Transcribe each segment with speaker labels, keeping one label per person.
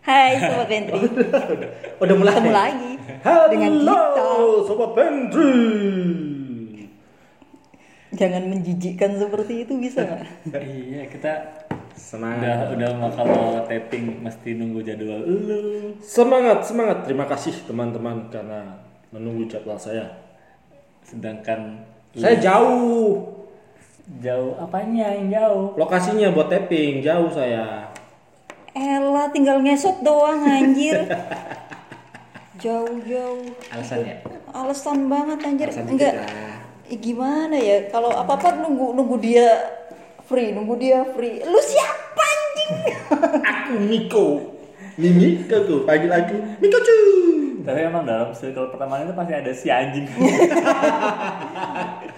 Speaker 1: Hai Sobat Bentri
Speaker 2: udah, udah mulai.
Speaker 1: Ketemu lagi
Speaker 2: Halo,
Speaker 1: Dengan kita
Speaker 2: Sobat Pentri.
Speaker 1: Jangan menjijikkan seperti itu bisa nggak?
Speaker 3: iya kita udah
Speaker 2: Semangat.
Speaker 3: udah mau kalau taping mesti nunggu jadwal lu
Speaker 2: Semangat, semangat. Terima kasih teman-teman karena menunggu jadwal saya.
Speaker 3: sedangkan lu
Speaker 2: Saya jauh.
Speaker 3: jauh apanya yang jauh
Speaker 2: Lokasinya buat tapping jauh saya.
Speaker 1: Ella tinggal ngesot doang anjir Jauh-jauh
Speaker 3: alasannya
Speaker 1: Alasan banget anjir
Speaker 2: Alasan
Speaker 1: Enggak
Speaker 2: dikit
Speaker 1: Eh, Gimana ya Kalau apa-apa nunggu nunggu dia free Nunggu dia free Lu siapa anjing?
Speaker 2: Aku Miko. Mimi, kau tuh panggil aku Miko cu.
Speaker 3: tapi emang dalam circle pertemanan itu pasti ada si anjing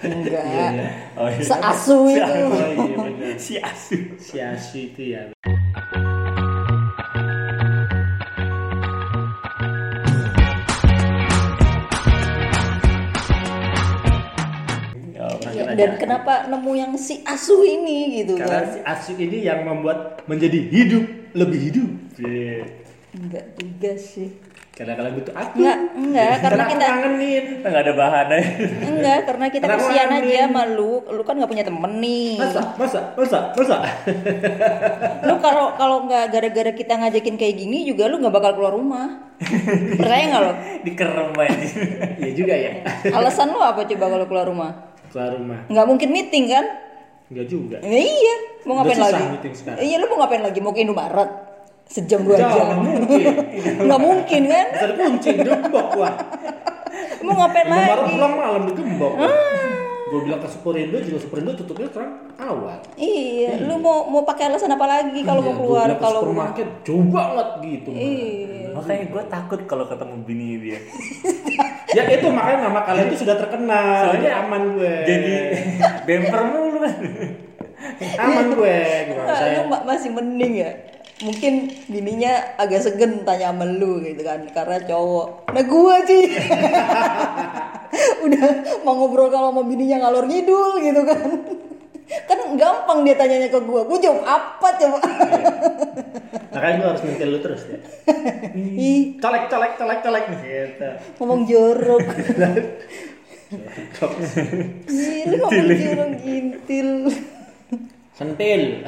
Speaker 1: Enggak
Speaker 3: oh, iya.
Speaker 1: Seasu
Speaker 3: Si
Speaker 1: itu.
Speaker 3: asu, iya, bener. si asu
Speaker 2: Si Asu itu ya.
Speaker 3: Ya, orang
Speaker 1: Ya,
Speaker 3: kena
Speaker 1: Dan
Speaker 3: aja.
Speaker 1: kenapa nemu yang si asu ini gitu
Speaker 2: Karena
Speaker 1: kan
Speaker 2: si Asu ini yang membuat menjadi hidup lebih hidup.
Speaker 1: Enggak juga sih
Speaker 2: Kadang-kadang butuh aku.
Speaker 1: Enggak, enggak Karena
Speaker 2: aku
Speaker 1: kita
Speaker 2: kangenin.
Speaker 3: kita nggak ada bahan aja
Speaker 1: Enggak, karena kita
Speaker 2: Kenapa
Speaker 1: kesian aja
Speaker 2: anjing?
Speaker 1: sama lu. Lu kan nggak punya temen nih.
Speaker 2: Masa, masa, masa, masa.
Speaker 1: Lu kalau kalau nggak gara-gara kita ngajakin kayak gini juga lu nggak bakal keluar rumah. Percaya nggak lo?
Speaker 3: dikerem aja
Speaker 2: Iya juga ya.
Speaker 1: Alasan lu apa coba kalau keluar rumah?
Speaker 2: Keluar rumah.
Speaker 1: Nggak mungkin meeting kan?
Speaker 2: Enggak juga.
Speaker 1: Ya iya, mau
Speaker 2: Udah
Speaker 1: ngapain
Speaker 2: susah
Speaker 1: lagi?
Speaker 2: meeting sekarang.
Speaker 1: Iya, lu mau ngapain lagi? Mau ke Indomaret? Sejam dua
Speaker 2: Jangan
Speaker 1: jam?
Speaker 2: mungkin.
Speaker 1: Nggak mungkin kan?
Speaker 2: Bisa dikunci gembok wah.
Speaker 1: Mau ngapain
Speaker 2: Kemarin
Speaker 1: lagi? Ah.
Speaker 2: pulang malam di gembok. Gue bilang ke Superindo juga Superindo tutupnya sekarang awal.
Speaker 1: Iya, lu mau mau pakai alasan apa lagi kalau mau
Speaker 2: Iya, gua
Speaker 1: keluar?
Speaker 2: bilang ke
Speaker 1: Kalau
Speaker 2: supermarket jauh banget gitu.
Speaker 1: iya,
Speaker 3: makanya gue takut kalau ketemu bini dia
Speaker 2: Ya itu makanya nama kalian
Speaker 1: Iya.
Speaker 2: itu sudah terkenal. Jadi
Speaker 3: Soalnya
Speaker 2: aman gue.
Speaker 3: jadi bemper mulu kan
Speaker 2: aman gue. Gimana
Speaker 1: Nah,
Speaker 2: saya?
Speaker 1: lu ma- masih mending ya mungkin bininya agak segen tanya sama lu gitu kan karena cowok nah gua sih udah mau ngobrol kalau sama bininya ngalor ngidul gitu kan kan gampang dia tanyanya ke gua gua jawab apa coba
Speaker 2: Makanya gue harus ngintil lu terus
Speaker 1: Iya.
Speaker 2: ya.
Speaker 1: ih
Speaker 2: Colek, colek, colek, colek. Gitu.
Speaker 1: ngomong jorok Ih, lu ngomong jorok gintil
Speaker 2: Sentil.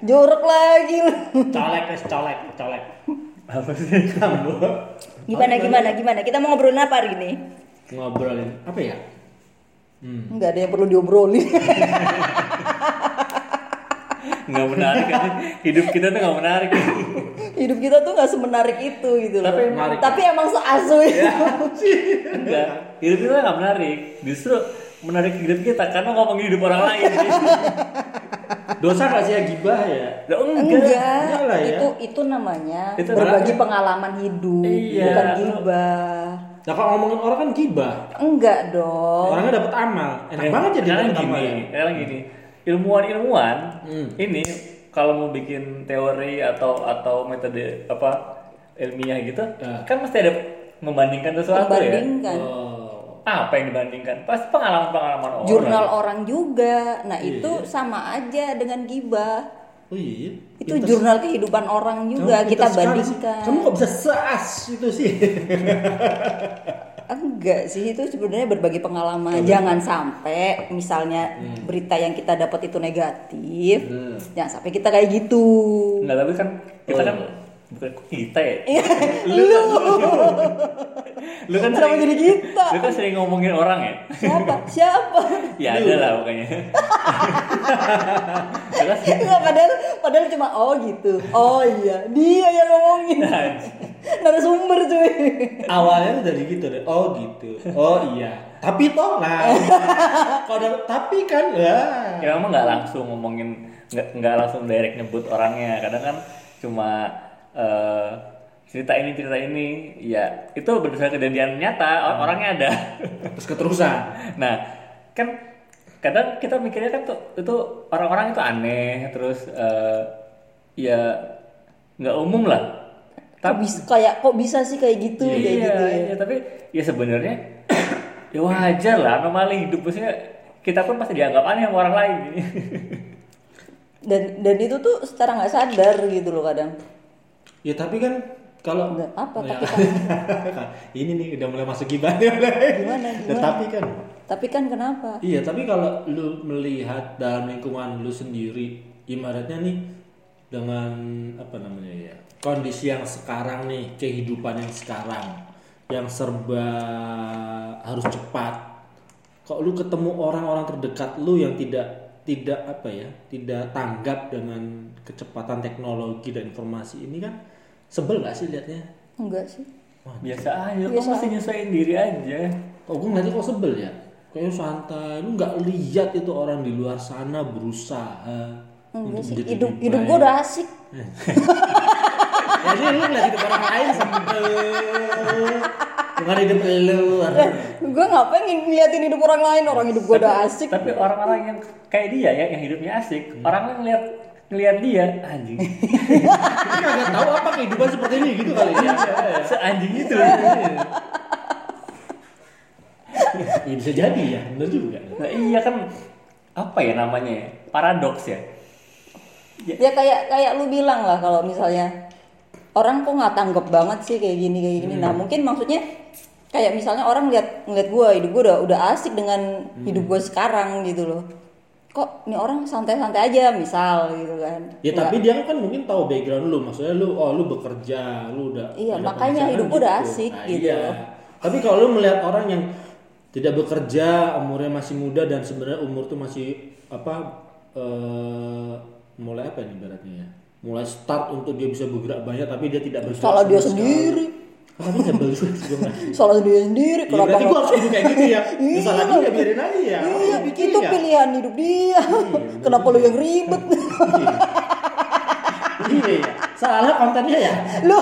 Speaker 1: jorok lagi lu
Speaker 2: colek, guys, colek, colek.
Speaker 3: apa sih
Speaker 2: Kamu
Speaker 1: gimana gimana gimana kita mau ngobrolin apa hari ini
Speaker 2: ngobrolin apa ya? Hmm.
Speaker 1: nggak ada yang perlu diobrolin
Speaker 3: nggak menarik aja. hidup kita tuh nggak menarik
Speaker 1: hidup kita tuh nggak semenarik itu gitu loh.
Speaker 3: Tapi
Speaker 2: menarik. Iya.
Speaker 1: Tapi emang seasu itu.
Speaker 3: enggak hidup kita nggak menarik justru menarik hidup kita karena ngomongin hidup orang lain
Speaker 2: Dosa gak sih ya gibah ya?
Speaker 3: Lah, enggak
Speaker 1: Enggak,
Speaker 2: enggak lah ya.
Speaker 1: itu itu namanya
Speaker 3: Itu
Speaker 1: berbagi pengalaman hidup,
Speaker 3: Iya.
Speaker 1: bukan gibah.
Speaker 2: Nah kalau ngomongin orang kan gibah.
Speaker 1: Enggak dong.
Speaker 2: Orangnya dapat amal. Enak
Speaker 3: Eh,
Speaker 2: banget jadi
Speaker 3: sekarang
Speaker 2: dapat amal.
Speaker 3: gini
Speaker 2: ya.
Speaker 3: sekarang gini ilmuwan-ilmuwan
Speaker 2: Hmm.
Speaker 3: ini kalau mau bikin teori atau atau metode apa ilmiah gitu
Speaker 2: Ah.
Speaker 3: kan mesti ada membandingkan sesuatu ya
Speaker 1: Membandingkan
Speaker 2: Oh.
Speaker 3: apa yang dibandingkan pasti pengalaman pengalaman orang
Speaker 1: jurnal orang juga.
Speaker 2: Iya.
Speaker 1: Nah, itu sama aja dengan gibah.
Speaker 2: Oh iya.
Speaker 1: Itu jurnal kehidupan orang juga
Speaker 2: Kamu
Speaker 1: kita
Speaker 2: pintar sekali sih.
Speaker 1: bandingkan.
Speaker 2: Kamu kok bisa seas itu sih?
Speaker 1: Enggak sih itu sebenarnya berbagi pengalaman. Jangan sampai misalnya
Speaker 2: Hmm.
Speaker 1: berita yang kita dapat itu negatif. Jangan sampai kita kayak gitu.
Speaker 2: Nah,
Speaker 3: Enggak, tapi kan
Speaker 2: Oh.
Speaker 3: kita kan bukan kok kita ya.
Speaker 1: Iya. Lu
Speaker 3: Lu kan
Speaker 1: Kenapa jadi kita?
Speaker 3: Lu kan sering ngomongin orang ya.
Speaker 1: siapa? Siapa?
Speaker 3: Ya ada lah pokoknya. Lu kan sering-
Speaker 1: Enggak padahal padahal cuma oh gitu. Oh iya, dia yang ngomongin. Narasumber cuy.
Speaker 2: Awalnya tuh dari gitu deh. Oh gitu. Oh iya. Tapi toh nah. kalau ada- tapi kan ya.
Speaker 3: ya memang nggak langsung ngomongin nggak nggak langsung direct nyebut orangnya. Kadang kan cuma eh, cerita ini cerita ini ya itu berdasarkan kejadian nyata
Speaker 1: Hmm.
Speaker 3: or- orangnya ada
Speaker 2: Terus keterusan.
Speaker 3: nah kan kadang kita mikirnya kan tuh itu orang-orang itu aneh terus eh, ya nggak umum lah
Speaker 1: Kok bisa kayak kok bisa sih kayak gitu kayak
Speaker 3: iya,
Speaker 1: gitu.
Speaker 3: iya, tapi ya sebenarnya ya wajar lah anomali hidup maksudnya kita pun pasti dianggap aneh sama orang lain
Speaker 1: Dan dan itu tuh secara nggak sadar gitu loh kadang.
Speaker 2: Ya tapi kan kalau
Speaker 1: Nggak apa-apa, tapi
Speaker 2: Ya.
Speaker 1: kan-
Speaker 2: ini nih udah mulai masuk gimana mulai.
Speaker 1: Gimana, gimana?
Speaker 2: Tetapi kan
Speaker 1: Tapi kan kenapa?
Speaker 2: iya tapi kalau lu melihat dalam lingkungan lu sendiri ibaratnya nih dengan apa namanya ya kondisi yang sekarang nih kehidupan yang sekarang yang serba harus cepat kok lu ketemu orang-orang terdekat lu yang tidak tidak apa ya tidak tanggap dengan kecepatan teknologi dan informasi ini kan sebel gak sih liatnya
Speaker 1: Enggak sih.
Speaker 3: Biasa aja, kok
Speaker 1: Biasa
Speaker 3: masih nyusahin diri aja.
Speaker 2: Kok gue ngeliatnya kok sebel ya? Kayaknya santai, lu nggak lihat itu orang di luar sana berusaha
Speaker 1: Enggak
Speaker 2: untuk
Speaker 1: sih.
Speaker 2: menjadi
Speaker 1: Hidup
Speaker 2: lebih
Speaker 1: hidup
Speaker 2: baik.
Speaker 1: gua udah asik.
Speaker 2: Jadi lu ngeliat hidup orang lain sebel. Bukan hidup lu.
Speaker 1: Gua nggak pengen ngeliatin hidup orang lain. Orang hidup gua udah asik.
Speaker 3: Tapi orang-orang yang kayak dia ya, yang hidupnya asik, orang lain ngeliat ngeliat dia anjing,
Speaker 2: Kita nggak tahu apa kehidupan seperti ini gitu kali ya.
Speaker 3: seanjing itu.
Speaker 2: Iya bisa jadi ya, bener juga.
Speaker 3: Nah, iya kan apa ya namanya? ya? Paradoks ya.
Speaker 1: Ya kayak kayak lu bilang lah kalau misalnya orang kok nggak tanggap banget sih kayak gini kayak gini. Nah
Speaker 2: Hmm.
Speaker 1: mungkin maksudnya kayak misalnya orang lihat ngeliat gue hidup gue udah udah asik dengan
Speaker 2: Hmm.
Speaker 1: hidup gue sekarang gitu loh. Kok nih orang santai-santai aja misal gitu kan.
Speaker 2: Ya tapi dia kan mungkin tahu background lu, maksudnya lu oh lu bekerja, lu udah
Speaker 1: Iya,
Speaker 2: ada
Speaker 1: makanya
Speaker 2: penghasilan
Speaker 1: hidup gua udah asik gitu
Speaker 2: iya.
Speaker 1: loh.
Speaker 2: Tapi kalau lu melihat orang yang tidak bekerja, umurnya masih muda dan sebenarnya umur tuh masih apa eh mulai apa nih baratnya ya? Mulai start untuk dia bisa bergerak banyak tapi dia tidak bergerak.
Speaker 1: Salah dia
Speaker 2: sama sekali.
Speaker 1: sendiri.
Speaker 2: Oh, Tapi sebel juga sih gua nggak-
Speaker 1: Salah dia sendiri.
Speaker 2: Ya, berarti
Speaker 1: nggak-
Speaker 2: gua harus hidup kayak gitu ya.
Speaker 1: Iya.
Speaker 2: Salah dia biarin aja ya. Apa
Speaker 1: Iya,
Speaker 2: lu pikirin
Speaker 1: itu
Speaker 2: ya?
Speaker 1: pilihan hidup dia. Kenapa lu yang ribet?
Speaker 2: Iya, iya. Salah kontennya ya.
Speaker 1: lu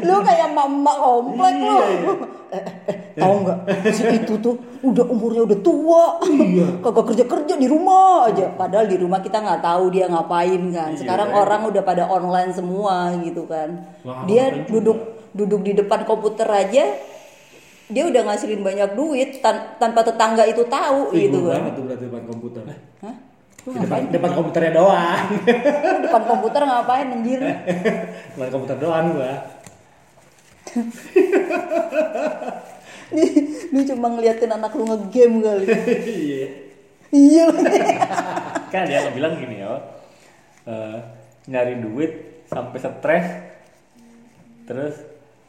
Speaker 1: lu kayak emak-emak komplek lu.
Speaker 2: Iya,
Speaker 1: Eh, eh, eh, tahu nggak si itu tuh udah umurnya udah tua
Speaker 2: Iya.
Speaker 1: kagak kerja kerja di rumah aja padahal di rumah kita nggak tahu dia ngapain kan
Speaker 2: Iya.
Speaker 1: sekarang orang udah pada online semua gitu kan
Speaker 2: Wah,
Speaker 1: dia
Speaker 2: ngapain juga.
Speaker 1: duduk duduk di depan komputer aja dia udah ngasilin banyak duit tan- tanpa tetangga itu tahu
Speaker 2: Ih,
Speaker 1: gitu kan
Speaker 2: gua banget tuh berarti depan komputer.
Speaker 1: Hah? Lu
Speaker 2: Di depan, depan komputernya doang.
Speaker 1: Lu depan komputer ngapain anjir
Speaker 2: depan komputer doang gua.
Speaker 1: lu cuma ngeliatin anak lu ngegame kali
Speaker 2: Iya.
Speaker 1: iya lagi.
Speaker 3: Kan dia bilang gini ya, eh, nyari duit sampai stres, terus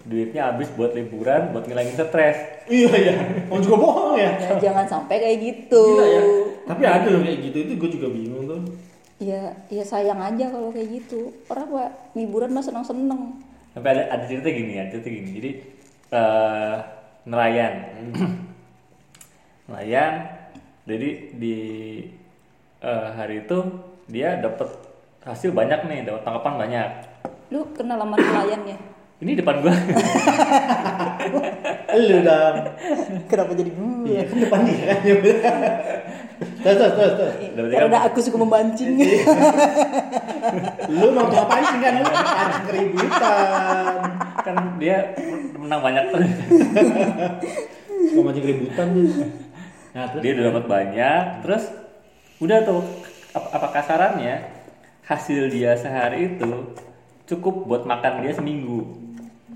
Speaker 3: duitnya habis buat liburan, buat ngilangin stres.
Speaker 2: Iya iya. Mau juga bohong ya.
Speaker 1: Ya, jangan sampai kayak gitu
Speaker 2: Gila ya. Tapi ada loh kayak gitu itu gua juga bingung tuh.
Speaker 1: ya ya sayang aja kalau kayak gitu orang pak liburan mah seneng seneng
Speaker 3: Sampai ada, ada cerita gini ya, cerita gini. Jadi eh, nelayan, nelayan. Jadi di eh, hari itu dia dapat hasil banyak nih, dapat tangkapan banyak.
Speaker 1: lu kenal sama nelayan ya
Speaker 3: Ini depan gua.
Speaker 2: Lu dah.
Speaker 1: kenapa jadi gue
Speaker 2: Iya kan depan dia kan. Terus terus terus. terus.
Speaker 3: Dapat
Speaker 1: karena
Speaker 2: kan-
Speaker 1: aku suka memancing
Speaker 2: Iya. Lu mau tukang pancing kan lu pancing keributan.
Speaker 3: kan dia menang banyak tuh.
Speaker 2: Mau pancing keributan tuh. Nah, terus
Speaker 3: dia udah dapat banyak terus udah tuh ap- apa kasarannya hasil dia sehari itu cukup buat makan dia seminggu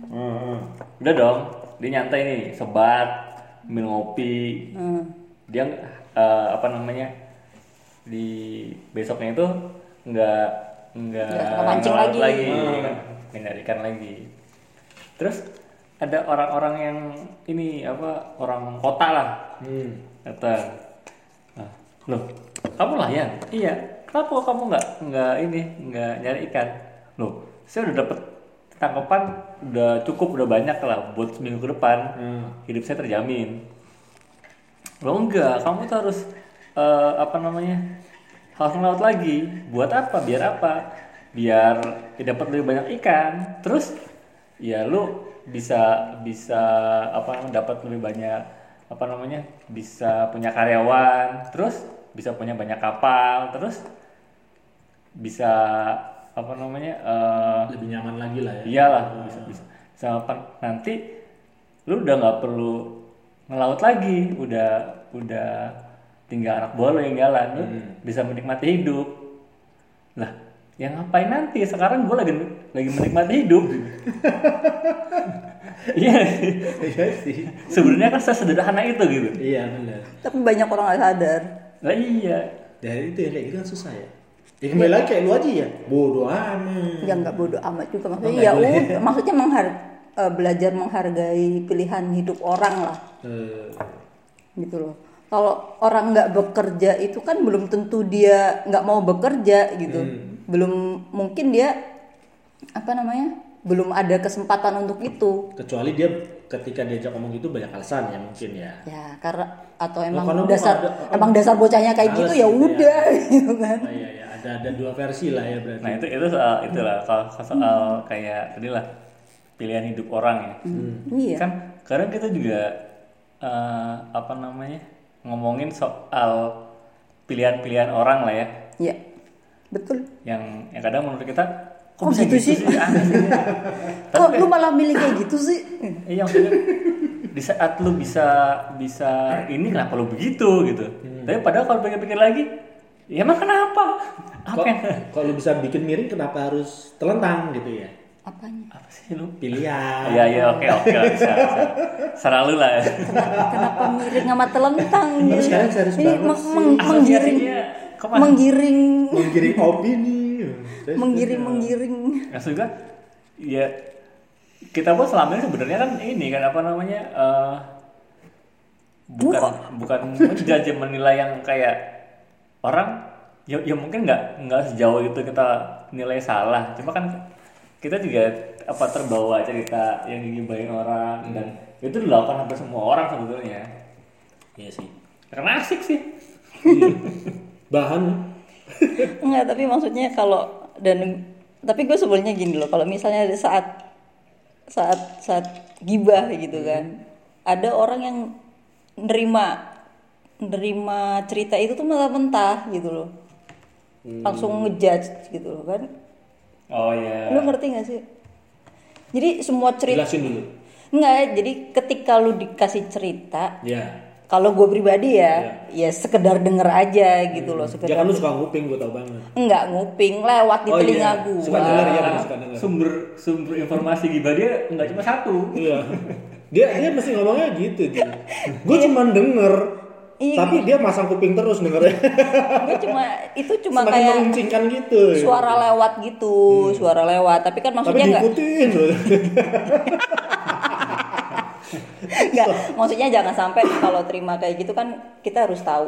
Speaker 2: Heeh.
Speaker 3: udah dong dia nyantai nih sebat minum ngopi
Speaker 1: Hmm.
Speaker 3: dia eh, apa namanya di besoknya itu nggak nggak
Speaker 1: Nggak suka mancing
Speaker 3: ngelarut
Speaker 1: lagi.
Speaker 3: nggak nyari ikan lagi terus ada orang-orang yang ini apa orang kota lah
Speaker 2: Hmm.
Speaker 3: kata "Ah, loh kamu layan iya kenapa kok kamu nggak nggak ini nggak nyari ikan loh saya udah dapet tangkapan udah cukup udah banyak lah buat seminggu ke depan
Speaker 2: Hmm.
Speaker 3: hidup saya terjamin lo enggak kamu tuh harus eh, apa namanya harus melaut lagi buat apa biar apa biar dapat lebih banyak ikan terus ya lu bisa bisa apa dapat lebih banyak apa namanya bisa punya karyawan terus bisa punya banyak kapal terus bisa apa namanya eh,
Speaker 2: Lebih nyaman lagi lah ya.
Speaker 3: iyalah bisa bisa bisa mapan. nanti lu udah nggak perlu ngelaut lagi udah udah tinggal anak buah lu yang jalan lu bisa menikmati hidup lah ya ngapain nanti sekarang gue lagi lagi menikmati hidup iya
Speaker 2: Iya sih.
Speaker 3: sebenarnya kan sesederhana itu gitu
Speaker 2: Iya benar.
Speaker 1: Tapi banyak orang nggak sadar.
Speaker 3: lah iya
Speaker 2: Dari itu yang kayak gitu kan susah ya. Ya kembali lagi kayak lu aja ya. Bodoh amat.
Speaker 1: Ya Iya. nggak bodoh amat juga maksudnya.
Speaker 2: Oh,
Speaker 1: ya
Speaker 2: nggak boleh.
Speaker 1: udah, maksudnya menghar eh, belajar menghargai pilihan hidup orang lah,
Speaker 2: Eh,
Speaker 1: gitu loh. Kalau orang nggak bekerja itu kan belum tentu dia nggak mau bekerja gitu.
Speaker 2: Hmm.
Speaker 1: Belum mungkin dia apa namanya? Belum ada kesempatan untuk itu.
Speaker 2: kecuali dia ketika diajak ngomong gitu banyak alasan ya mungkin ya.
Speaker 1: Ya karena atau emang
Speaker 2: kalau gua
Speaker 1: dasar
Speaker 2: ada- oh.
Speaker 1: emang dasar bocahnya kayak
Speaker 2: Males
Speaker 1: gitu ya
Speaker 2: gitu ya.
Speaker 1: udah gitu kan.
Speaker 2: Oh, iya ya ada ada dua versi lah ya berarti.
Speaker 3: nah itu itu soal itulah soal, soal kayak tadi lah pilihan hidup orang ya
Speaker 1: Iya.
Speaker 3: kan kadang kita juga eh, apa namanya ngomongin soal pilihan-pilihan orang lah ya
Speaker 1: Iya. Betul.
Speaker 3: yang yang kadang menurut kita kok
Speaker 1: Kok
Speaker 3: bisa
Speaker 1: gitu
Speaker 3: gitu,
Speaker 1: sih?
Speaker 3: sih, Aneh.
Speaker 1: Kok lu malah milih kayak gitu sih?
Speaker 3: Iya maksudnya di saat lu bisa bisa ini kenapa lu begitu gitu. Tapi padahal kalau pikir-pikir lagi, ya emang kenapa? Apa
Speaker 2: Kok,
Speaker 1: kan?
Speaker 3: yang
Speaker 2: kok lu bisa bikin miring kenapa harus telentang gitu ya?
Speaker 1: Apanya?
Speaker 3: apa sih lu?
Speaker 2: Pilihan.
Speaker 3: Iya iya oke oke bisa bisa. Serah lu lah. ya.
Speaker 1: Kenapa miring sama telentang?
Speaker 2: Terus sekarang serius
Speaker 1: Ini
Speaker 2: banget
Speaker 1: meng-
Speaker 2: sih.
Speaker 1: meng- menggiring,
Speaker 3: Asosiasinya kemana?
Speaker 1: menggiring,
Speaker 2: Menggiring opini.
Speaker 1: menggiring, menggiring.
Speaker 3: Maksud gua, ya kita pun selama ini sebenarnya kan ini kan apa namanya eh, bukan bukan menjudge menilai yang kayak orang ya, ya mungkin nggak nggak sejauh itu kita nilai salah cuma kan kita juga apa terbawa cerita yang digibahin orang
Speaker 2: Hmm.
Speaker 3: dan ya itu dilakukan hampir semua orang sebetulnya
Speaker 2: Iya sih.
Speaker 3: karena asik sih
Speaker 2: Bahan
Speaker 1: Enggak, tapi maksudnya kalau dan tapi gue sebelumnya gini loh, kalau misalnya ada saat saat saat gibah gitu kan, ada orang yang nerima nerima cerita itu tuh mentah-mentah gitu loh, langsung ngejudge gitu loh kan.
Speaker 3: oh
Speaker 2: iya.
Speaker 3: ya
Speaker 1: Lu ngerti gak sih? Jadi semua cerita
Speaker 2: jelasin dulu.
Speaker 1: Enggak, jadi ketika lu dikasih cerita,
Speaker 2: Ya.
Speaker 1: kalau gue pribadi ya, ya sekedar denger aja gitu loh, sekedar
Speaker 2: Jangan kan lu suka nguping gue tau banget.
Speaker 1: enggak nguping lewat di
Speaker 2: Oh,
Speaker 1: telinga
Speaker 2: iya.
Speaker 1: gue.
Speaker 2: Suka denger ya, suka denger.
Speaker 3: sumber sumber informasi gibah dia nggak cuma satu
Speaker 2: Iya. Dia dia mesti ngomongnya gitu dia. Gue cuma denger.
Speaker 1: Iya.
Speaker 2: Tapi dia masang kuping terus dengernya.
Speaker 1: Gue cuma itu cuma
Speaker 2: Semakin
Speaker 1: kayak
Speaker 2: meruncingkan gitu. Iya.
Speaker 1: suara lewat gitu, suara lewat. Tapi kan
Speaker 2: Tapi
Speaker 1: maksudnya enggak
Speaker 2: diikutin loh.
Speaker 1: Nggak, maksudnya jangan sampai kalau terima kayak gitu kan kita harus tahu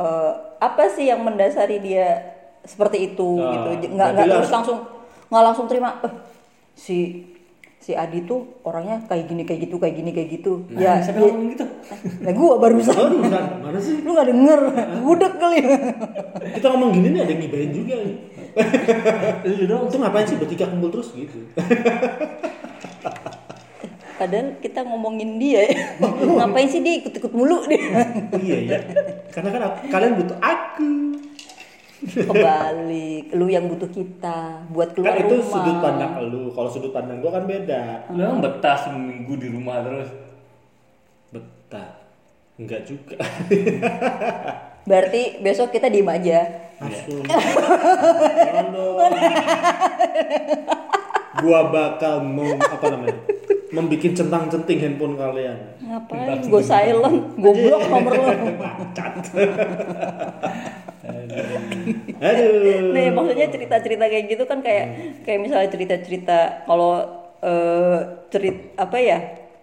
Speaker 1: eh, apa sih yang mendasari dia seperti itu
Speaker 2: Nah,
Speaker 1: gitu. J- Nggak
Speaker 2: berarti
Speaker 1: nggak
Speaker 2: lah.
Speaker 1: terus langsung nggak langsung terima eh, si si Adi tuh orangnya kayak gini kayak gitu kayak gini kayak gitu. ya, ya
Speaker 2: Iya,
Speaker 3: siapa yang ngomong gitu
Speaker 1: nah gua barusan
Speaker 2: Baru, San. Mana sih?
Speaker 1: lu nggak denger,
Speaker 2: Ah.
Speaker 1: gudeg kali.
Speaker 2: Kita ngomong gini nih ada yang ngibahin juga nih.
Speaker 3: lu dong
Speaker 2: Itu ngapain sih bertiga kumpul terus gitu.
Speaker 1: Padahal kita ngomongin dia ya. Ngapain sih dia ikut-ikut mulu dia?
Speaker 2: iya ya. Karena kan aku- kalian butuh aku.
Speaker 1: Kebalik, lu yang butuh kita buat
Speaker 2: Kan
Speaker 1: keluar
Speaker 2: itu
Speaker 1: rumah.
Speaker 2: sudut pandang lu. Kalau sudut pandang gua kan beda.
Speaker 3: Lu emang betah seminggu di rumah terus?
Speaker 2: Betah. Enggak juga.
Speaker 1: Berarti besok kita diem aja.
Speaker 2: Asum. Jangan dong. Gua bakal mem, apa namanya? Membikin centang-centing handphone kalian.
Speaker 1: Ngapain? Gue silent, gue blok nomor lo.
Speaker 2: Aduh.
Speaker 1: Nih maksudnya cerita-cerita kayak gitu kan kayak
Speaker 2: Hmm.
Speaker 1: kayak misalnya cerita-cerita kalau eh cerit apa ya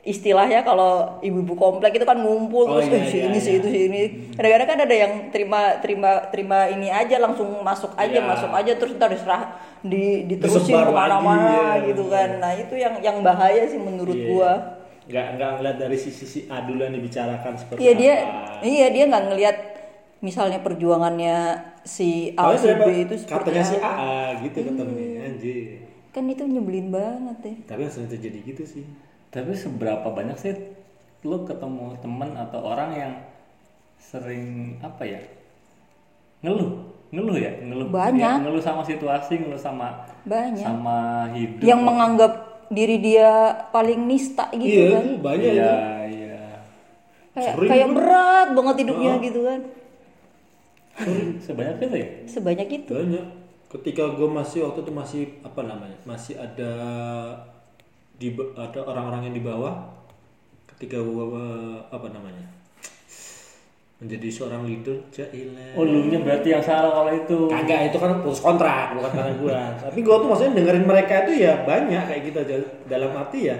Speaker 1: istilahnya kalau ibu-ibu komplek itu kan ngumpul
Speaker 2: Oh,
Speaker 1: terus
Speaker 2: iya,
Speaker 1: "Eh, si
Speaker 2: iya,
Speaker 1: ini si
Speaker 2: iya.
Speaker 1: itu si ini kadang-kadang kan ada yang terima terima terima ini aja langsung masuk aja
Speaker 2: Iya.
Speaker 1: masuk aja terus ntar diserah di diterusin
Speaker 2: Disebar
Speaker 1: kemana-mana
Speaker 2: lagi, iya.
Speaker 1: gitu kan nah itu yang yang bahaya sih menurut
Speaker 2: Iya.
Speaker 1: gua
Speaker 2: Nggak, nggak ngeliat dari sisi si A dulu yang dibicarakan seperti
Speaker 1: Iya dia,
Speaker 2: apa.
Speaker 1: iya dia nggak ngelihat misalnya perjuangannya si A si
Speaker 2: Tapi siapa-
Speaker 1: B itu seperti
Speaker 2: katanya si
Speaker 1: apa. Hmm.
Speaker 2: AA gitu ketemunya anjir.
Speaker 1: Kan itu nyebelin banget ya.
Speaker 2: Tapi yang sering terjadi gitu sih.
Speaker 3: Tapi seberapa banyak sih lu ketemu temen atau orang yang sering apa ya? Ngeluh, ngeluh ya, ngeluh.
Speaker 1: Banyak.
Speaker 3: Ya, ngeluh sama situasi, ngeluh sama
Speaker 1: Banyak
Speaker 3: sama hidup.
Speaker 1: yang menganggap diri dia paling nista gitu
Speaker 2: iya,
Speaker 1: kan.
Speaker 2: itu banyak
Speaker 3: Iya,
Speaker 2: itu.
Speaker 3: iya.
Speaker 1: Kayak
Speaker 2: sering
Speaker 1: kayak
Speaker 2: kan.
Speaker 1: berat banget hidupnya gitu kan.
Speaker 3: Sebanyak itu ya?
Speaker 1: Sebanyak itu.
Speaker 2: Banyak. ketika gue masih waktu itu masih apa namanya masih ada di ada orang-orang yang di bawah ketika gue apa namanya menjadi seorang leader jailah
Speaker 3: Oh, lu nya berarti yang salah kalau itu.
Speaker 2: kagak itu kan putus kontrak bukan karena gue tapi gue tuh maksudnya dengerin mereka itu ya banyak kayak gitu aja dalam arti ya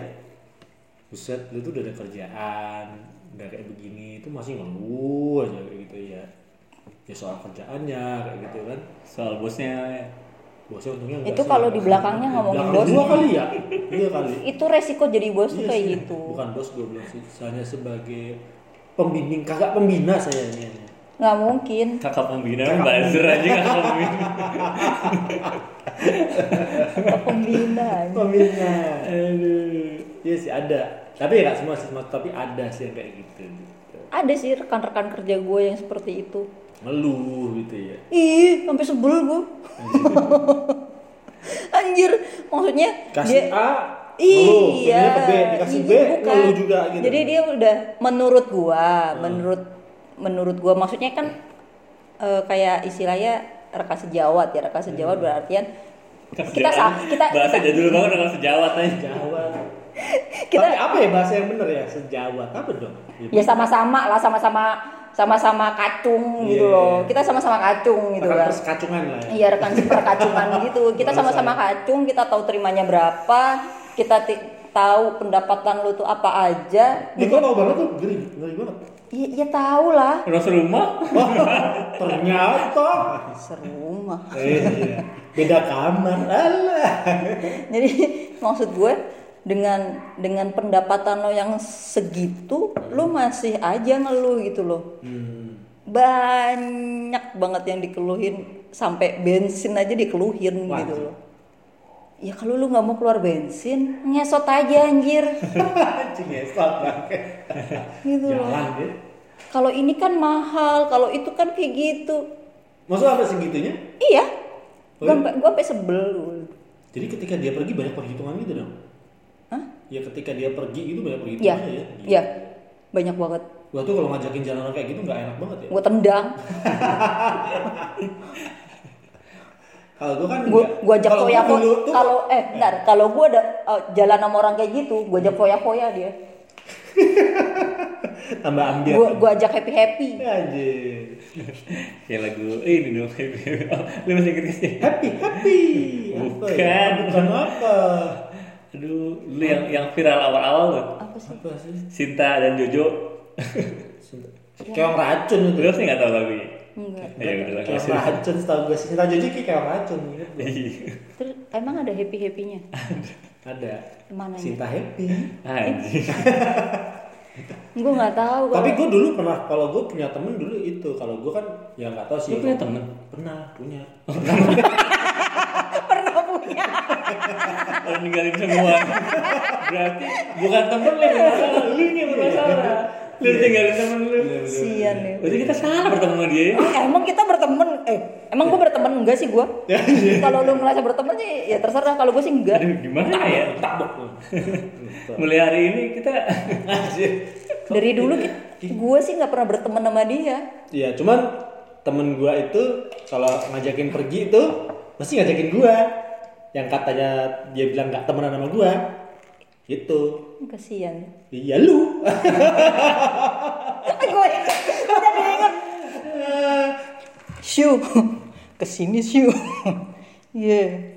Speaker 2: buset lu tuh udah ada kerjaan udah kayak begini itu masih ngeluh aja kayak gitu ya ya soal kerjaannya kayak gitu kan
Speaker 3: Soal bosnya.
Speaker 2: bosnya untungnya enggak
Speaker 1: Itu
Speaker 2: sih. ya.
Speaker 1: kalau di belakangnya ngomongin
Speaker 2: Belakang
Speaker 1: bosnya.
Speaker 2: gua kali ya iya kali
Speaker 1: itu resiko jadi bos tuh
Speaker 2: Iya
Speaker 1: kayak
Speaker 2: sih.
Speaker 1: gitu
Speaker 2: bukan bos gue bilang sih hanya sebagai pembimbing kakak pembina saya ini
Speaker 1: nggak mungkin
Speaker 3: Kakak pembina buzzer aja kakak pembina.
Speaker 1: pembina
Speaker 2: pembina aduh iya sih ada tapi ya nggak semua sih semua- tapi ada sih yang kayak gitu gitu.
Speaker 1: ada sih rekan-rekan kerja gue yang seperti itu
Speaker 2: ngeluh gitu ya
Speaker 1: ih sampai sebel gue anjir maksudnya dia
Speaker 2: kasih A ngeluh,
Speaker 1: iya
Speaker 2: pindah Oh, ke B dikasih B
Speaker 1: jadi
Speaker 2: ngeluh juga gitu Ah.
Speaker 1: jadi dia udah menurut gua menurut menurut gua maksudnya kan eh, kayak istilahnya rekan sejawat ya rekan
Speaker 2: Hmm.
Speaker 1: sejawat berartian kita sa- kita
Speaker 3: bahasa jadul banget dengan sejawat aja.
Speaker 2: Jawa
Speaker 1: kita
Speaker 2: tapi apa ya bahasa yang bener ya sejawat apa dong Gitu.
Speaker 1: ya sama-sama lah sama-sama sama-sama kacung gitu
Speaker 2: Iya.
Speaker 1: loh kita sama-sama kacung gitu
Speaker 2: Rekan
Speaker 1: kan
Speaker 2: persekacungan lah ya.
Speaker 1: Iya rekan perkacungan gitu. Kita sama-sama kacung, kita tahu terimanya berapa, kita ti- tahu pendapatan lu tuh apa aja.
Speaker 2: Ini gua tau banget tuh, ngeri, ngeri banget.
Speaker 1: Iya ya, tahu lah.
Speaker 3: Udah serumah.
Speaker 2: Wah, ternyata.
Speaker 1: Serumah.
Speaker 2: Eh, iya. Beda kamar, alah.
Speaker 1: Gitu Jadi maksud gue dengan dengan pendapatan lo yang segitu, lo masih aja ngeluh gitu loh.
Speaker 2: Hmm.
Speaker 1: Banyak banget yang dikeluhin sampai bensin aja dikeluhin
Speaker 2: Wajib.
Speaker 1: gitu loh. Ya kalau lu nggak mau keluar bensin, ngesot aja anjir.
Speaker 2: Cingesot banget.
Speaker 1: Gitu loh.
Speaker 2: ya, Jalan ya. deh.
Speaker 1: Kalau ini kan mahal, kalau itu kan kayak gitu.
Speaker 2: Maksud apa segitunya?
Speaker 1: Iya.
Speaker 2: Oh
Speaker 1: Gua
Speaker 2: iya?
Speaker 1: sampai gua sampai sebel. lu.
Speaker 2: Jadi ketika dia pergi banyak perhitungan gitu dong?
Speaker 1: Hah?
Speaker 2: Ya ketika dia pergi itu banyak
Speaker 1: Iya.
Speaker 2: perhitungannya ya?
Speaker 1: Iya. Banyak banget.
Speaker 2: Gua tuh kalau ngajakin jalan orang kayak gitu nggak enak banget ya.
Speaker 1: Gua tendang,
Speaker 2: Kalau gua kan
Speaker 1: gua
Speaker 2: nggak.
Speaker 1: gua ajak
Speaker 2: Kalau
Speaker 1: foya
Speaker 2: dulu tuh-
Speaker 1: Kalau eh bentar, kalau gua ada eh, jalan sama orang kayak gitu, gua ajak foya-foya dia.
Speaker 2: tambah ambiar.
Speaker 1: Gua gua ajak happy-happy.
Speaker 2: Iya. Anjir.
Speaker 3: Kayak Ya, lagu ini dong. Oh, Lu masih inget gak sih?
Speaker 2: Happy happy. Apa ya?
Speaker 3: Bukan.
Speaker 2: Bukan apa?
Speaker 3: Aduh, lu yang yang viral awal-awal tuh.
Speaker 1: Apa sih?
Speaker 2: Apa sih?
Speaker 3: Sinta dan Jojo.
Speaker 2: Keong racun itu.
Speaker 3: Lu sih nggak tahu lagunya.
Speaker 1: Enggak.
Speaker 3: Ya udah lah.
Speaker 2: Keong
Speaker 3: kasih.
Speaker 2: racun setahu gue sih. Cinta jadi kayak keong racun gitu.
Speaker 3: Iya.
Speaker 1: Terus emang ada happy-happynya?
Speaker 2: Ada.
Speaker 1: Mananya?
Speaker 2: Cinta happy.
Speaker 3: Anjing.
Speaker 1: Gua nggak tahu kalau-
Speaker 2: Tapi gue dulu pernah kalau gue punya temen dulu itu kalau gue kan ya nggak tahu sih.
Speaker 3: Lu punya temen?
Speaker 2: Pernah punya.
Speaker 1: pernah punya.
Speaker 3: Lu ninggalin semua. Berarti bukan temen lu yang bermasalah, lu yang bermasalah. Lu tinggalin temen
Speaker 2: Iya,
Speaker 3: lu.
Speaker 1: Sian ya.
Speaker 3: Berarti kita salah bertemu sama dia ya.
Speaker 1: Eh, emang kita berteman eh emang gue berteman enggak sih gue kalau lu ngerasa berteman sih ya terserah kalau gue sih enggak
Speaker 3: Aduh, gimana ya?
Speaker 2: Tabok.
Speaker 3: Mulai hari ini kita
Speaker 1: dari dulu gue sih nggak pernah berteman sama dia
Speaker 2: Iya, cuman temen gua itu kalau ngajakin pergi itu mesti ngajakin gua. Yang katanya dia bilang nggak temenan sama gua. Gitu.
Speaker 1: kasian
Speaker 2: Iya lu.
Speaker 1: gue udah diinget Syu kesini Syu iya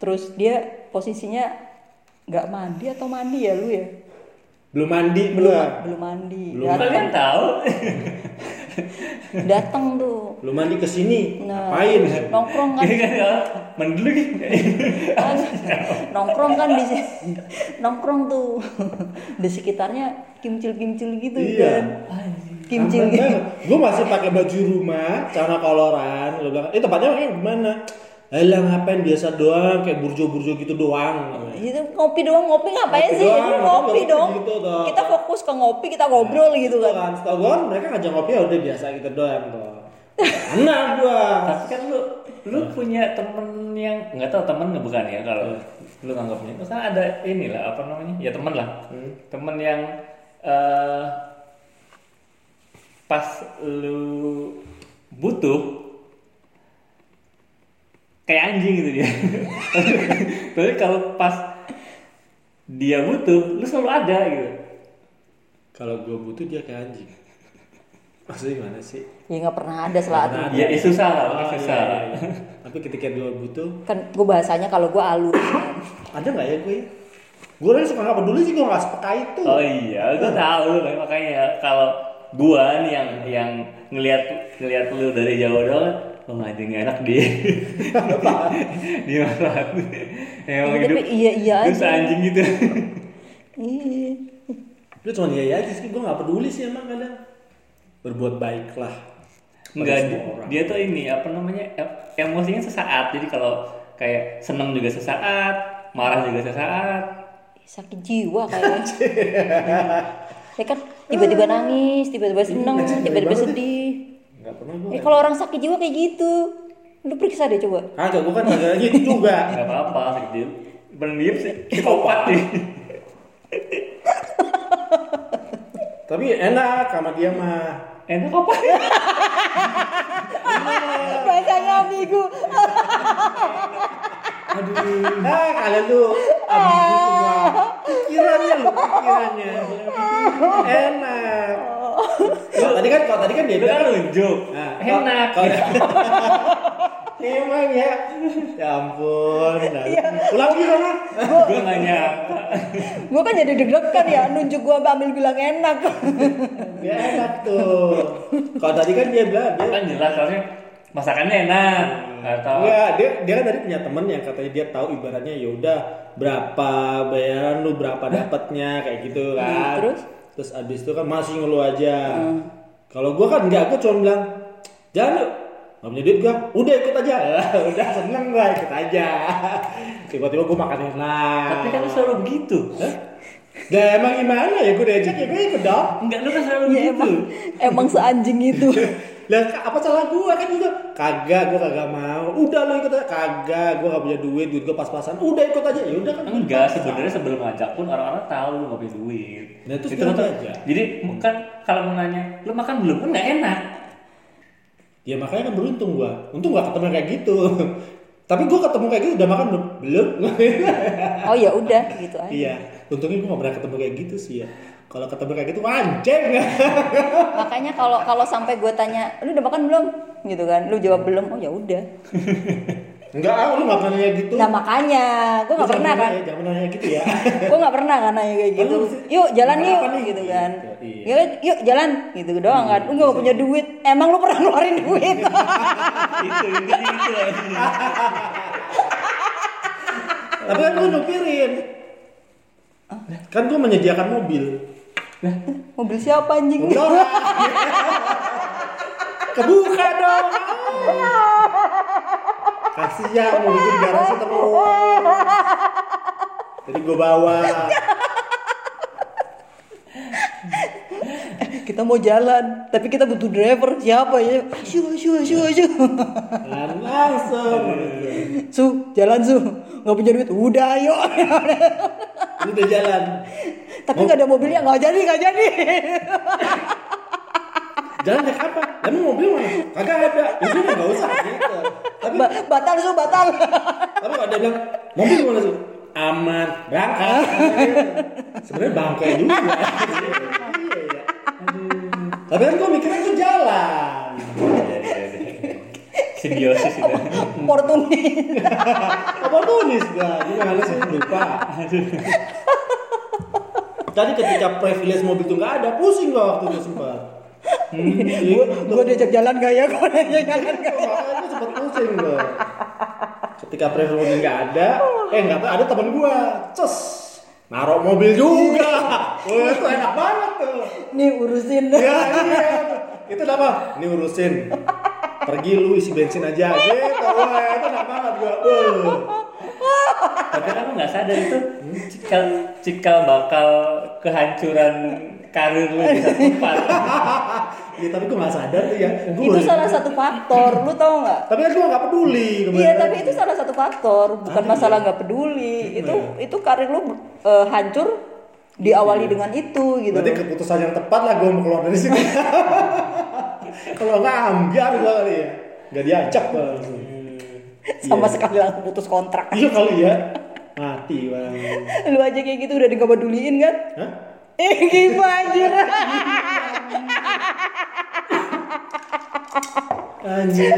Speaker 1: terus dia posisinya nggak mandi atau mandi ya lu ya
Speaker 2: belum mandi belum.
Speaker 1: belum mandi
Speaker 2: Belum
Speaker 1: datang
Speaker 3: kalian tahu.
Speaker 1: datang tuh
Speaker 2: Belum mandi ke sini.
Speaker 1: Nah.
Speaker 2: Ngapain?
Speaker 1: nongkrong kan
Speaker 3: Ini kan kalau mandi dulu Ki.
Speaker 1: kan nongkrong kan di nongkrong tuh di sekitarnya kimcil kimcil gitu
Speaker 2: Iya.
Speaker 1: kan kimcil
Speaker 2: Aman
Speaker 1: gitu
Speaker 2: banget. Gua masih pakai baju rumah, celana koloran. Lu bilang, "Eh tempatnya kayak gimana?" Elah ngapain biasa doang kayak burjo-burjo gitu doang.
Speaker 1: itu ngopi doang ngopi ngapain
Speaker 2: Ngopi
Speaker 1: sih
Speaker 2: doang,
Speaker 1: Itu
Speaker 2: ngopi
Speaker 1: ngopi dong
Speaker 2: gitu dong.
Speaker 1: kita fokus ke ngopi kita ngobrol gitu
Speaker 2: Gitu
Speaker 1: kan
Speaker 2: kan, setahu gua kan mereka ngajak ngopi ya udah biasa gitu doang tuh. Enak gua.
Speaker 3: Tapi kan lu lu punya temen yang nggak tahu temen nggak bukan ya kalau lu nganggapnya itu kan ada inilah apa namanya ya temen lah temen yang eh, pas lu butuh kayak anjing gitu dia tapi kalau pas dia butuh lu selalu ada gitu
Speaker 2: Kalau gue butuh dia kayak anjing. Maksudnya gimana sih?
Speaker 1: ya nggak pernah ada selalu
Speaker 2: Pernah ada.
Speaker 3: ya, ya susah lah
Speaker 2: Oh,
Speaker 3: pokoknya
Speaker 2: iya,
Speaker 3: susah
Speaker 2: iya, iya. Tapi ketika gue butuh,
Speaker 1: kan gue bahasanya kalau gue alur
Speaker 2: ada nggak ya gue? Gue kan suka nggak peduli sih gue nggak sepeka itu.
Speaker 3: Oh iya,
Speaker 1: Nah.
Speaker 3: gue tahu kan makanya kalau gua nih yang yang ngelihat ngelihat lu dari jauh doang, oh anjing nggak enak dia. dia banget. Emang
Speaker 1: Tapi
Speaker 3: hidup
Speaker 1: iya, iya
Speaker 3: hidup
Speaker 1: aja.
Speaker 3: anjing gitu.
Speaker 1: Iya.
Speaker 2: Lu cuma iya iya aja sih gue nggak peduli sih emang kadang. Berbuat baiklah. pada
Speaker 3: Enggak,
Speaker 2: semua
Speaker 3: dia,
Speaker 2: orang.
Speaker 3: dia tuh ini apa namanya em- emosinya sesaat. Jadi kalau kayak seneng juga sesaat, marah juga sesaat.
Speaker 1: sakit jiwa kayaknya ya kan tiba-tiba nangis tiba-tiba seneng
Speaker 2: Iya,
Speaker 1: tiba-tiba
Speaker 2: banget ya.
Speaker 1: sedih
Speaker 2: Nggak pernah gue.
Speaker 1: eh kalau orang sakit jiwa kayak gitu lu periksa deh coba
Speaker 2: Kagak, gue kan kagak gitu juga.
Speaker 3: Gak apa-apa, gitu. Pendiam sih, psikopat nih.
Speaker 2: Tapi enak sama dia mah.
Speaker 3: Enak apa?
Speaker 1: Iya. bahasanya ambigu
Speaker 2: Aduh. Nah, kalian tuh abis itu semua pikirannya lu, pikirannya. Enak. Kalau tadi kan kalau tadi kan dia
Speaker 3: Itu
Speaker 2: bilang
Speaker 3: kan lucu.
Speaker 2: Nah, kalau-
Speaker 3: Enak.
Speaker 2: kalau- Emang ya, ya ampun. Nah, Ulang lagi sana.
Speaker 3: gue gak nyangka
Speaker 1: gue kan jadi deg-degan ya nunjuk gue ambil bilang enak
Speaker 2: Ya enak tuh. Kalau tadi kan dia bilang dia
Speaker 3: kan jelas harusnya masakannya enak
Speaker 2: Hmm.
Speaker 3: atau
Speaker 2: Enggak, dia dia kan tadi punya temen yang katanya dia tahu ibaratnya ya udah berapa bayaran lu berapa dapatnya kayak gitu kan.
Speaker 1: terus?
Speaker 2: Terus Hmm. abis itu kan masih ngeluh aja. Kalau gua kan enggak, gua cuma bilang jangan lu nggak punya duit gua, udah ikut aja, udah seneng gua ikut aja. Tiba-tiba gua makan enak.
Speaker 3: tapi kan lu selalu begitu
Speaker 2: Nah, emang gimana ya gua diajak ya gua ikut dong.
Speaker 3: enggak lu kan selalu
Speaker 2: gitu?
Speaker 1: ya
Speaker 3: begitu
Speaker 1: emang emang seanjing itu
Speaker 2: Lah apa salah gua kan gitu. Kagak gua kagak mau. Udah lu ikut aja. Kagak gua gak punya duit, duit gua pas-pasan. Udah ikut aja. Ya udah kan.
Speaker 3: enggak sebenarnya sebelum ngajak pun orang-orang tahu lu gak punya duit
Speaker 2: Nah, terus
Speaker 3: kan
Speaker 2: bilang
Speaker 3: tuh-
Speaker 2: aja.
Speaker 3: jadi bukan kalau mau nanya lu makan belum kan nggak enak
Speaker 2: Ya makanya kan beruntung gua. Untung gak ketemu kayak gitu. Tapi gua ketemu kayak gitu udah makan belum? Belum.
Speaker 1: oh ya udah gitu aja
Speaker 2: iya. Untungnya gua gak pernah ketemu kayak gitu sih ya. Kalau ketemu kayak gitu anjing.
Speaker 1: makanya kalau kalau sampai gue tanya lu udah makan belum gitu kan lu jawab belum oh ya udah
Speaker 2: Enggak, ah, lu gak pernah kayak gitu.
Speaker 1: nah makanya gue
Speaker 2: Lu
Speaker 1: nggak
Speaker 2: jangan
Speaker 1: pernah
Speaker 2: nanya,
Speaker 1: kan
Speaker 2: Jangan pernah kayak gitu ya.
Speaker 1: gue nggak pernah kan nanya kayak gitu
Speaker 2: Lu mesti-
Speaker 1: yuk jalan
Speaker 2: makan
Speaker 1: yuk
Speaker 2: apa nih?
Speaker 1: gitu kan
Speaker 2: Iya.
Speaker 1: yuk yuk jalan gitu doang kan lu nggak punya duit emang lu pernah ngeluarin duit
Speaker 3: itu intinya itu
Speaker 2: Tapi kan gua nyupirin. Kan gua menyediakan mobil.
Speaker 1: mobil siapa anjing
Speaker 2: Mobil orang. Kebuka dong. Kasihan mau bikin garasi terus. Jadi gue bawa.
Speaker 1: kita mau jalan tapi kita butuh driver siapa ya su su su su
Speaker 2: Dan Nah, langsung.
Speaker 1: su jalan su nggak punya duit udah ayo
Speaker 2: Ini udah jalan.
Speaker 1: tapi
Speaker 2: Oh.
Speaker 1: nggak ada mobilnya nggak jadi nggak jadi
Speaker 2: Jalan naik apa? Emang mobil mana? Kagak ada. Itu mah nggak usah. Gitu. Tapi
Speaker 1: Ba- batal su batal
Speaker 2: tapi kalau dia bilang mobil mana sih? Aman. Berangkat. Sebenarnya bangke juga. Iya, iya. Aduh. Tapi kan gue mikirnya gue jalan.
Speaker 3: iya. simbiosis itu
Speaker 1: Portugis
Speaker 2: Iya. Apa tulis gua? Gimana sih lupa. Tadi ketika privilege mobil tuh nggak ada, pusing gua waktu itu sempat. Hmm,
Speaker 1: gue gue diajak jalan gak ya gue diajak jalan gak ya
Speaker 2: Makanya sempat pusing gua. Ketika privilege mobil nggak ada, eh nggak tahu ada temen gua, cus naruh mobil juga. Wah itu enak banget tuh.
Speaker 1: nih urusin
Speaker 2: Ya iya. Itu apa? Ini urusin. Pergi lu isi bensin aja gitu. Wah itu enak banget gua. Wah.
Speaker 3: tapi kan lu nggak sadar itu cikal cikal bakal kehancuran karir lu di satu tempat
Speaker 2: Ya tapi gue gak sadar tuh ya Gua
Speaker 1: itu
Speaker 2: baru-
Speaker 1: salah satu faktor lu tau nggak
Speaker 2: Tapi kan gue gak peduli
Speaker 1: Iya, tapi itu salah satu faktor, bukan
Speaker 2: Ah, iya.
Speaker 1: masalah nggak peduli. Itu itu karir lu eh, hancur diawali dengan itu gitu.
Speaker 2: Iya. Berarti kan-
Speaker 1: loh.
Speaker 2: keputusan yang tepat lah gue mau keluar dari sini Kalau gak ambiar gue kali ya Gak diajak gue langsung
Speaker 1: sama sekali langsung putus kontrak
Speaker 2: Iya kalau iya mati bang.
Speaker 1: lu aja kayak gitu udah digak peduliin kan
Speaker 2: Hah?
Speaker 1: eh gimana anjir
Speaker 2: Anjir.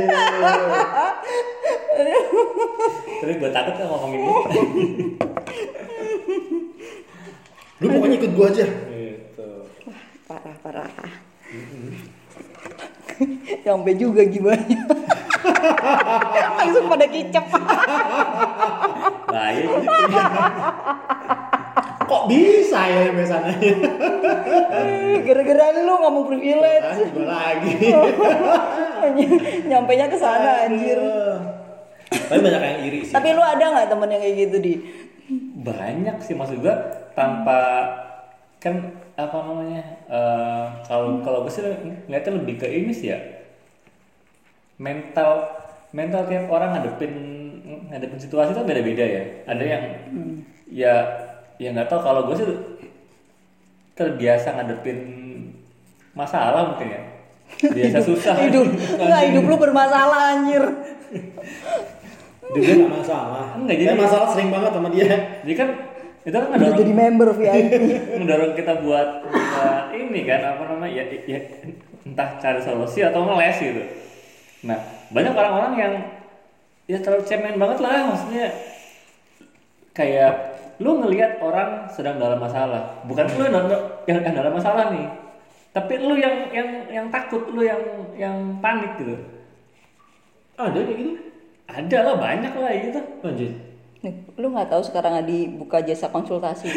Speaker 3: Tapi gue takut kan ngomongin ini.
Speaker 2: Lu pokoknya ikut gua aja.
Speaker 3: gitu.
Speaker 1: parah parah
Speaker 2: Mm-hmm.
Speaker 1: sampai juga gimana langsung pada kicep
Speaker 3: Nah, iya gitu.
Speaker 2: Kok bisa ya biasanya?
Speaker 1: Eh, gara-gara lu nggak mau privilege
Speaker 2: Anjir gua lagi.
Speaker 1: nyampe nya ke sana anjir
Speaker 3: Tapi banyak yang iri sih.
Speaker 1: tapi lu ada nggak temen yang kayak gitu di
Speaker 3: banyak sih maksud gue tanpa kan apa namanya eh, kalau kalau gue sih ngeliatnya lebih ke ini sih ya mental mental tiap orang ngadepin ngadepin situasi itu beda-beda ya ada yang
Speaker 1: Hmm.
Speaker 3: ya ya nggak tahu kalau gue sih terbiasa ngadepin masalah mungkin ya biasa susah
Speaker 1: hidup nggak hidup lu bermasalah anjir
Speaker 2: Dia nggak masalah.
Speaker 3: Nggak, jadi-
Speaker 2: Tapi masalah sering banget sama dia.
Speaker 3: jadi kan itu kan
Speaker 1: udah
Speaker 3: ngedorong
Speaker 1: jadi member VIP
Speaker 3: mendorong kita buat buat ini kan apa namanya ya, ya entah cari solusi atau ngeles gitu nah banyak orang-orang yang ya terlalu cemen banget lah maksudnya kayak lu ngelihat orang sedang dalam masalah bukan lu yang, yang, yang dalam masalah nih tapi lu yang yang yang takut lu yang yang panik gitu
Speaker 2: Ada kayak gitu.
Speaker 3: ada lah banyak lah gitu
Speaker 2: Lanjut.
Speaker 1: Nih, lu nggak tahu sekarang Adi buka jasa konsultasi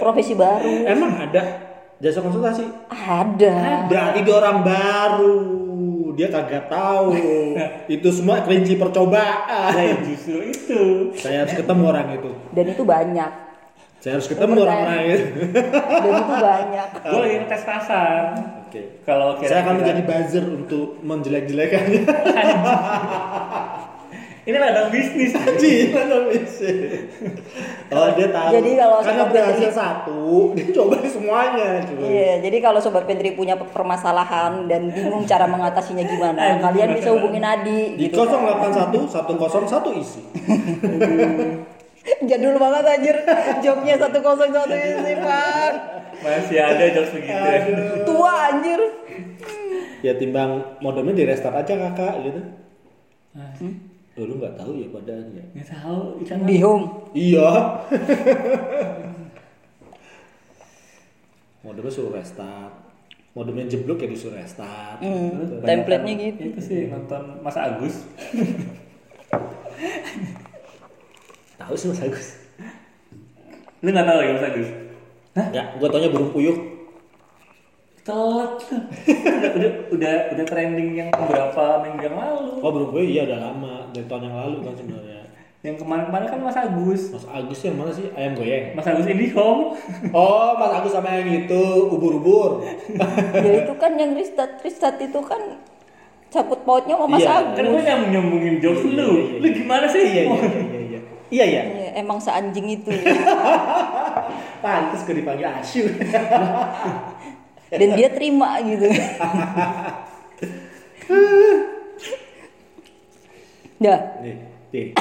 Speaker 1: profesi baru
Speaker 2: Emang ada jasa konsultasi?
Speaker 1: ada
Speaker 2: Berarti dia orang baru. Dia kagak tahu. itu semua kelinci percobaan.
Speaker 3: nah ya justru itu
Speaker 2: Saya harus ketemu orang itu.
Speaker 1: dan itu banyak
Speaker 2: Saya harus ketemu orang orang itu.
Speaker 1: dan itu banyak
Speaker 2: Ah.
Speaker 3: gue lagi ngetes pasar
Speaker 2: Oke.
Speaker 3: kalau kira
Speaker 2: Saya akan menjadi buzzer untuk menjelek-jelekannya.
Speaker 3: ini ladang bisnis
Speaker 2: Gila nggak bisa. Oh dia tahu.
Speaker 1: Jadi kalau
Speaker 2: karena
Speaker 1: sobat
Speaker 2: berhasil
Speaker 1: Petri-
Speaker 2: satu, dia coba di semuanya. cuy.
Speaker 1: Iya, jadi kalau Sobat Pentri punya pe- permasalahan dan bingung cara mengatasinya Eh, gimana,
Speaker 3: Aduh,
Speaker 1: kalian bisa hubungin Adi.
Speaker 2: Di
Speaker 1: Gitu.
Speaker 2: 081 101 isi.
Speaker 1: Jadul banget anjir, joknya 101 ini, Bang.
Speaker 3: masih ada jokes begitu
Speaker 1: Tua anjir.
Speaker 2: Ya timbang modemnya di restart aja kakak gitu. Oh, lu nggak tahu ya padahal ya.
Speaker 3: Hmm, nggak tahu itu
Speaker 1: Di home.
Speaker 2: Iya. modemnya suruh restart. Modemnya jeblok ya disuruh restart.
Speaker 1: Hmm, template-nya gitu.
Speaker 3: itu sih nonton Mas Agus
Speaker 2: Tahu sih Mas Agus.
Speaker 3: lu nggak tahu ya Mas Agus
Speaker 2: Ya, gua taunya burung puyuh.
Speaker 3: telat lu udah udah udah udah trending yang beberapa minggu yang lalu
Speaker 2: Oh burung puyuh iya udah lama dari tahun yang lalu kan sebenarnya.
Speaker 3: yang kemarin-kemarin kan Mas Agus
Speaker 2: Mas Agus yang mana sih ayam goyang?
Speaker 3: Mas Agus ini home
Speaker 2: Oh Mas Agus sama yang itu ubur-ubur.
Speaker 1: Ya itu kan yang Ristat, Ristat itu kan cabut pautnya sama Mas
Speaker 2: Iya.
Speaker 1: Agus.
Speaker 3: kan gue yang nyambungin jokes lu lu gimana sih
Speaker 2: iya iya iya iya. Iya iya.
Speaker 1: Iya, emang seanjing itu.
Speaker 2: Pantes gue dipanggil Asyu.
Speaker 1: Dan dia terima gitu. Dah,
Speaker 2: Nih, nih.